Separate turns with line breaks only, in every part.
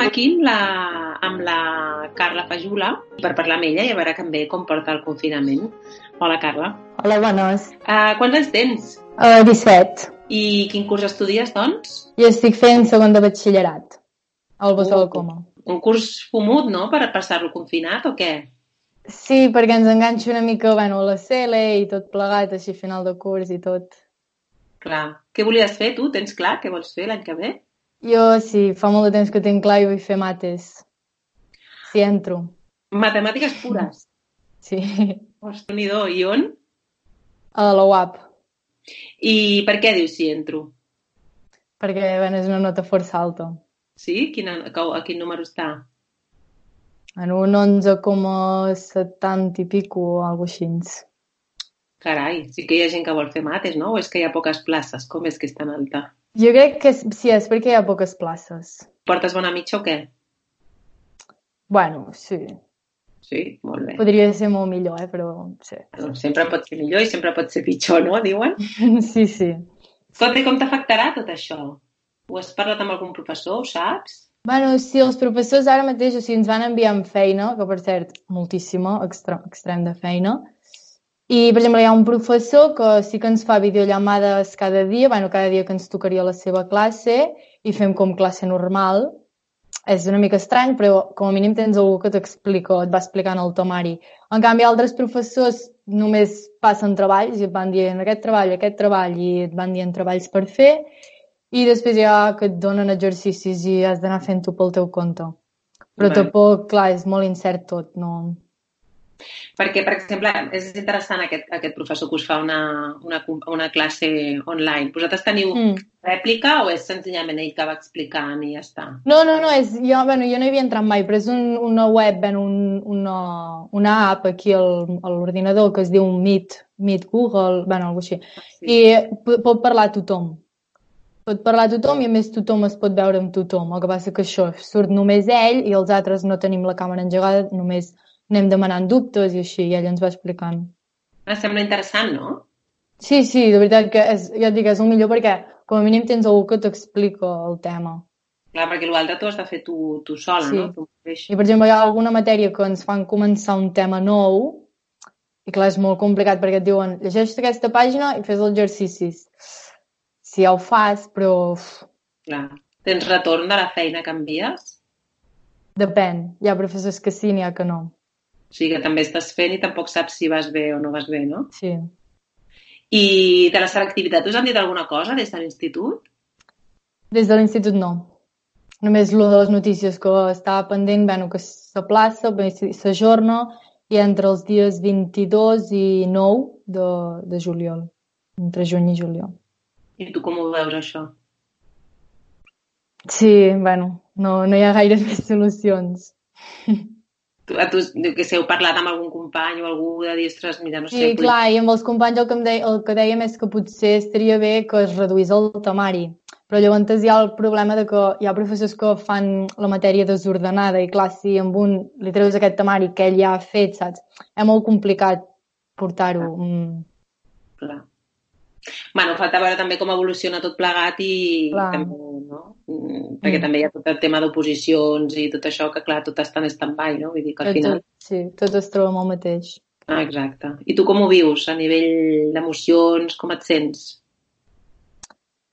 aquí amb la, amb la Carla Fajula per parlar amb ella i a veure també com porta el confinament. Hola, Carla.
Hola, bones.
Uh, quants anys tens?
Uh, 17.
I quin curs estudies, doncs?
Jo estic fent segon de batxillerat, al Bosó del Coma.
Un curs fumut, no?, per passar-lo confinat o què?
Sí, perquè ens enganxa una mica bueno, a la cele i tot plegat, així final de curs i tot.
Clar. Què volies fer, tu? Tens clar què vols fer l'any que ve?
Jo sí, fa molt de temps que tinc clar i vull fer mates. Si entro.
Matemàtiques pures.
Sí,
Ostres, nhi do. I on?
a la UAP,
I per què dius si entro?
perquè bueno, és una nota força alta.
Sí? Quina, cau- a quin número està?
En un 11,70 i pico o alguna cosa així.
Carai, sí que hi ha gent que vol fer mates, no? O és que hi ha poques places? Com és que és tan alta?
Jo crec que és- sí, és perquè hi ha poques places.
Portes bona mitja o què?
Bueno, sí,
Sí, molt bé.
podria ser molt millor, eh, però sí.
Doncs sempre pot ser millor i sempre pot ser pitjor, no? Diuen.
Sí, sí.
Escolta, i com t'afectarà tot això? Ho has parlat amb algun professor, ho saps?
Bueno, si els professors ara mateix, o sigui, ens van enviant feina, que per cert, moltíssima, extra, extrem de feina, i, per exemple, hi ha un professor que sí que ens fa videollamades cada dia, bueno, cada dia que ens tocaria la seva classe, i fem com classe normal. És una mica estrany, però com a mínim tens algú que t'explica, o et va explicant el temari. En canvi, altres professors només passen treballs i et van dient aquest treball, aquest treball, i et van dient treballs per fer, i després ja que et donen exercicis i has d'anar fent-ho pel teu compte. Però
Vale.
tampoc, clar, és molt incert tot, no?
Perquè, per exemple, és interessant aquest, aquest professor que us fa una, una, com- una classe online. Vosaltres teniu mm.
Mm.
rèplica o és senzillament ell que va explicant i ja està?
No, no, no, és, jo, bueno, jo no hi havia entrat mai, però és un, una web, bueno, un, una, una app aquí al, a l'ordinador que es diu Meet, Meet Google, bueno, alguna cosa així.
Sí.
I po- pot parlar a tothom. Pot parlar a tothom i a més tothom es pot veure amb tothom. El que passa que això, surt només ell i els altres no tenim la càmera engegada, només anem demanant dubtes i així, i ell ens va explicant.
Ah, sembla interessant, no?
Sí, sí, de veritat que és, ja et dic, és el millor perquè com a mínim tens algú que t'explica el tema.
Clar, perquè l'altre t'ho has de fer tu, tu sola,
Sí.
no? Tu mateixa.
I, per exemple, hi ha alguna matèria que ens fan començar un tema nou i, clar, és molt complicat perquè et diuen llegeix aquesta pàgina i fes els exercicis. Si ja ho fas, però uf,
Clar. Tens retorn de la feina que envies?
depèn. Hi ha professors que sí, n'hi ha que no.
O sigui que també estàs fent i tampoc saps si vas bé o no vas bé, no?
Sí.
I de la selectivitat, us han dit alguna cosa des de l'institut?
Des de l'institut no. Només lo de les notícies que estava pendent, bueno, que s'aplaça, bé, s- s'ajorna i entre els dies 22 i 9 de, de juliol, entre juny i juliol.
I tu com ho veus, això?
Sí, bueno, no, no hi ha gaires més solucions.
Tu, a tu, jo què sé, heu parlat amb algun company o algú de dir, ostres, mira, no sé...
Sí,
vull-
clar, i amb els companys el que, em deia, el que dèiem és que potser estaria bé que es reduís el temari, però llavors hi ha el problema de que hi ha professors que fan la matèria desordenada i clar, si amb un li treus aquest temari que ell ja ha fet, saps? És molt complicat portar-ho. Mm,
Clar. Bueno, falta veure també com evoluciona tot plegat i
Clar.
també, no? Mm, perquè
Mm.
també hi ha tot el tema d'oposicions i tot això, que clar, tot està en stand-by, no? Vull dir que al
però
final...
tot, sí, tot es troba amb el mateix.
Ah, exacte. I tu com ho vius a nivell d'emocions? Com et sents?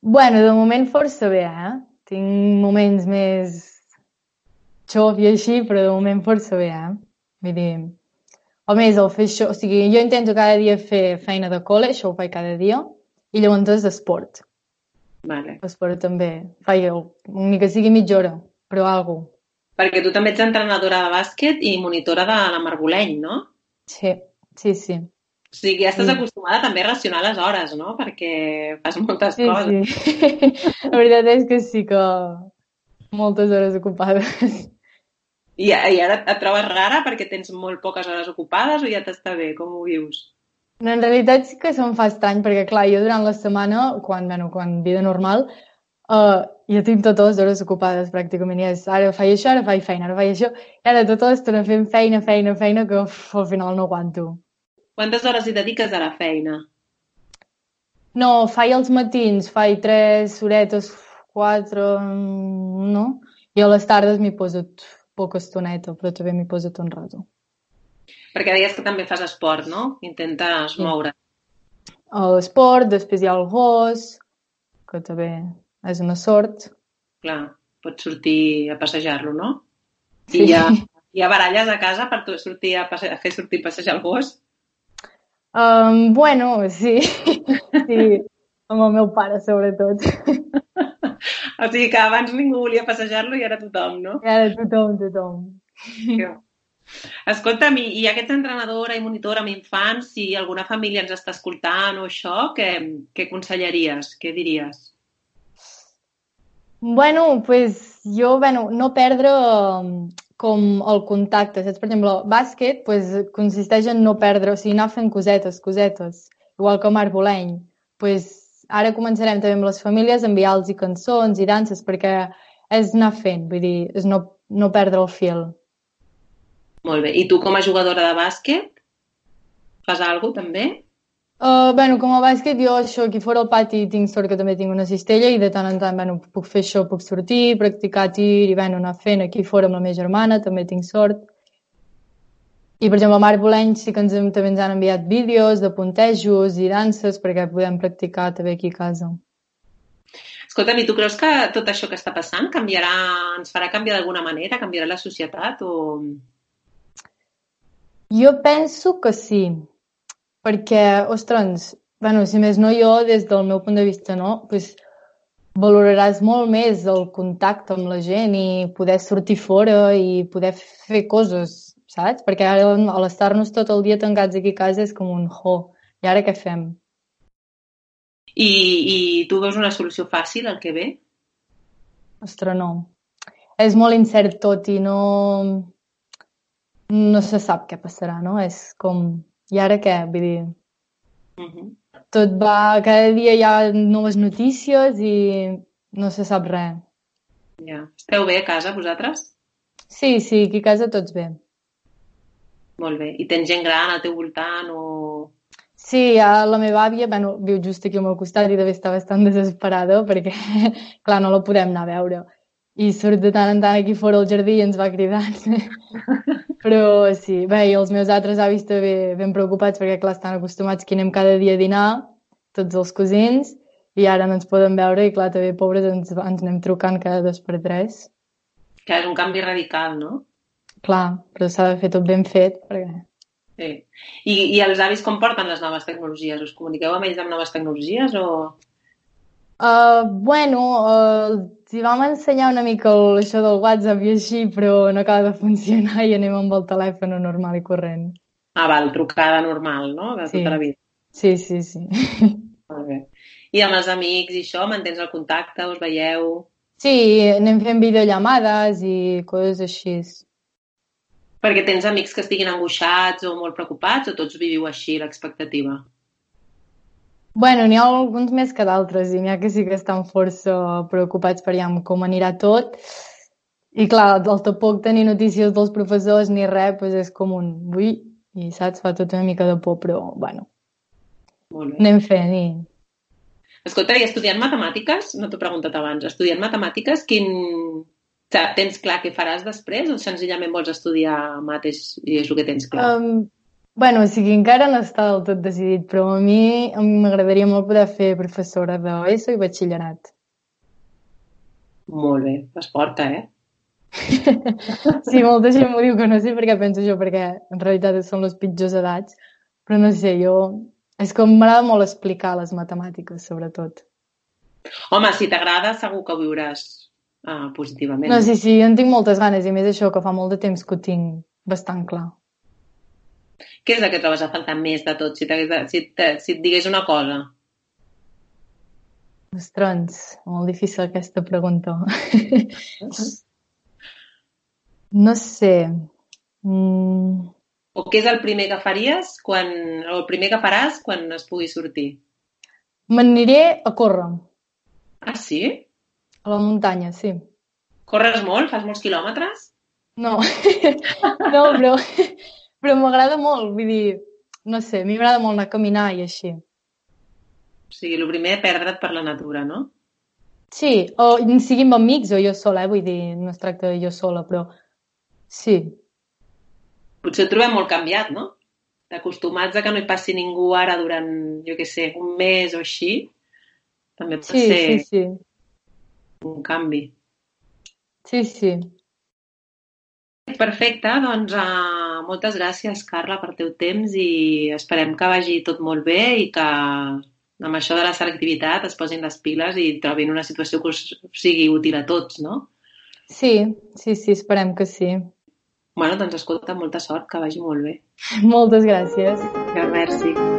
Bueno, de moment força bé, eh? Tinc moments més xof i així, però de moment força bé, eh? Vull dir, a més, el fer això, o sigui, jo intento cada dia fer feina de col·le, això ho faig cada dia, i llavors és d'esport.
Vale.
Esport també, faig el- ni que sigui mitja hora, però algo.
Perquè tu també ets entrenadora de bàsquet i monitora de la Margoleny, no?
Sí, sí, sí.
O sigui, ja estàs
Sí.
acostumada també a racionar les hores, no? Perquè fas moltes
Sí,
coses.
sí. La veritat és que sí que moltes hores ocupades.
I, I ara et trobes rara perquè tens molt poques hores ocupades o ja t'està bé? Com ho vius?
No, en realitat sí que se'm fa estrany, perquè clar, jo durant la setmana, quan, bueno, quan vida normal, uh, jo tinc totes les hores ocupades pràcticament, i és ara faig això, ara faig feina, ara faig això, i ara tota l'estona fent feina, feina, feina, que uf, al final no aguanto.
Quantes hores hi dediques a la feina?
No, faig els matins, faig tres horetes, quatre, mm, no? Jo a les tardes m'hi poso poca estoneta, però també m'hi poso un rato.
Perquè deies que també fas esport, no? Intentes
Sí.
moure.
A l'esport, després hi ha el gos, que també és una sort.
Clar, pots sortir a passejar-lo, no?
Sí.
I hi ha, hi ha baralles a casa per tu sortir a, passe... a fer sortir a passejar el gos?
Um, bueno, sí. sí. Amb el meu pare, sobretot.
O sigui que abans ningú volia passejar-lo i ara tothom, no?
I ara tothom, tothom.
Jo. Escolta'm, i, i aquesta entrenadora i monitora amb infants, si alguna família ens està escoltant o això, què, què aconsellaries? Què diries?
Bueno, pues jo, bueno, no perdre um, com el contacte, saps? Per exemple, el bàsquet pues, consisteix en no perdre, o sigui, anar fent cosetes, cosetes, igual que Marboleny. Pues, ara començarem també amb les famílies, enviar-los i cançons i danses, perquè és anar fent, vull dir, és no, no perdre el fil.
Molt bé. I tu, com a jugadora de bàsquet, fas alguna també?
Uh, bueno, com a bàsquet, jo això aquí fora al pati tinc sort que també tinc una cistella i de tant en tant, bueno, puc fer això, puc sortir, practicar tir i, bueno, anar fent aquí fora amb la meva germana, també tinc sort. I, per exemple, a Marc Boleny sí que ens, hem- també ens han enviat vídeos de puntejos i danses perquè podem practicar també aquí a casa.
Escolta'm, i tu creus que tot això que està passant canviarà, ens farà canviar d'alguna manera? Canviarà la societat? O...
Jo penso que sí, perquè, ostres, bueno, si més no jo, des del meu punt de vista, no, pues, valoraràs molt més el contacte amb la gent i poder sortir fora i poder fer coses, saps? Perquè ara, a l'estar-nos tot el dia tancats aquí a casa és com un jo. I ara què fem?
I, I tu veus una solució fàcil al que ve?
Ostres, no. És molt incert tot i no... No se sap què passarà, no? És com... I ara què? Vull dir,
Uh -huh.
tot va, cada dia hi ha noves notícies i no se sap res.
ja. Esteu bé a casa, vosaltres?
Sí, sí, aquí a casa tots bé.
Molt bé. I tens gent gran al teu voltant o...
Sí, a la meva àvia, bueno, viu just aquí al meu costat i també està bastant desesperada perquè, clar, no la podem anar a veure. I surt de tant en tant aquí fora al jardí i ens va cridant. Però sí, bé, i els meus altres avis també ben preocupats perquè, clar, estan acostumats que anem cada dia a dinar, tots els cosins, i ara no ens poden veure i, clar, també, pobres, ens, ens anem trucant cada dos per tres.
Que és un canvi radical, no?
Clar, però s'ha de fer tot ben fet, perquè...
Sí. I, I els avis com porten les noves tecnologies? Us comuniqueu amb ells amb noves tecnologies o...?
Uh, bueno, uh, els hi vam ensenyar una mica el, això del WhatsApp i així, però no acaba de funcionar i anem amb el telèfon normal i corrent.
Ah, val, trucada normal, no? De
Sí.
tota la vida.
Sí, sí, sí.
Molt bé. I amb els amics i això, mantens el contacte, us veieu?
Sí, anem fent videollamades i coses així.
Perquè tens amics que estiguin angoixats o molt preocupats o tots viviu així l'expectativa?
Bueno, n'hi ha alguns més que d'altres i n'hi ha que sí que estan força preocupats per ja com anirà tot. I clar, el tampoc tenir notícies dels professors ni res, doncs és com un... Ui, i saps? Fa tot una mica de por, però bueno,
Molt bé.
anem fent i...
Escolta, i estudiant matemàtiques, no t'ho he preguntat abans, estudiant matemàtiques, quin... o sigui, Tens clar què faràs després o senzillament vols estudiar mates i és el que tens clar?
Um, bueno, o sigui, encara no està del tot decidit, però a mi a mi m'agradaria molt poder fer professora d'ESO i batxillerat.
Molt bé, fas forta, eh?
Sí, molta gent m'ho diu que no sé per què penso jo, perquè en realitat són les pitjors edats, però no sé, jo... És com m'agrada molt explicar les matemàtiques, sobretot.
Home, si t'agrada, segur que ho viuràs uh, positivament.
No, sí, sí, jo en tinc moltes ganes, i a més això que fa molt de temps que ho tinc bastant clar.
Què és el que trobes a faltar més de tot? Si, t'hagués de, si, te, si et digués una cosa.
Ostres, molt difícil aquesta pregunta. No sé... Mm...
O què és el primer que faries quan, o el primer que faràs quan es pugui sortir?
M'aniré a córrer,
Ah, sí?
a la muntanya, sí.
Corres molt? Fas molts quilòmetres?
No, no, però, però m'agrada molt, vull dir, no sé, a mi m'agrada molt anar a caminar i així.
O sigui, el primer, perdre't per la natura, no?
Sí, o en siguin amics o jo sola, eh? vull dir, no es tracta de jo sola, però sí.
Potser ho trobem molt canviat, no? Acostumats a que no hi passi ningú ara durant, jo què sé, un mes o així, també pot
Sí,
ser
sí, sí.
un canvi.
Sí, sí.
Perfecte, doncs uh, moltes gràcies, Carla, per teu temps i esperem que vagi tot molt bé i que amb això de la selectivitat es posin les piles i trobin una situació que us sigui útil a tots, no?
Sí, sí, sí, esperem que sí.
Bueno, doncs escolta, molta sort, que vagi molt bé.
Moltes gràcies.
Que merci.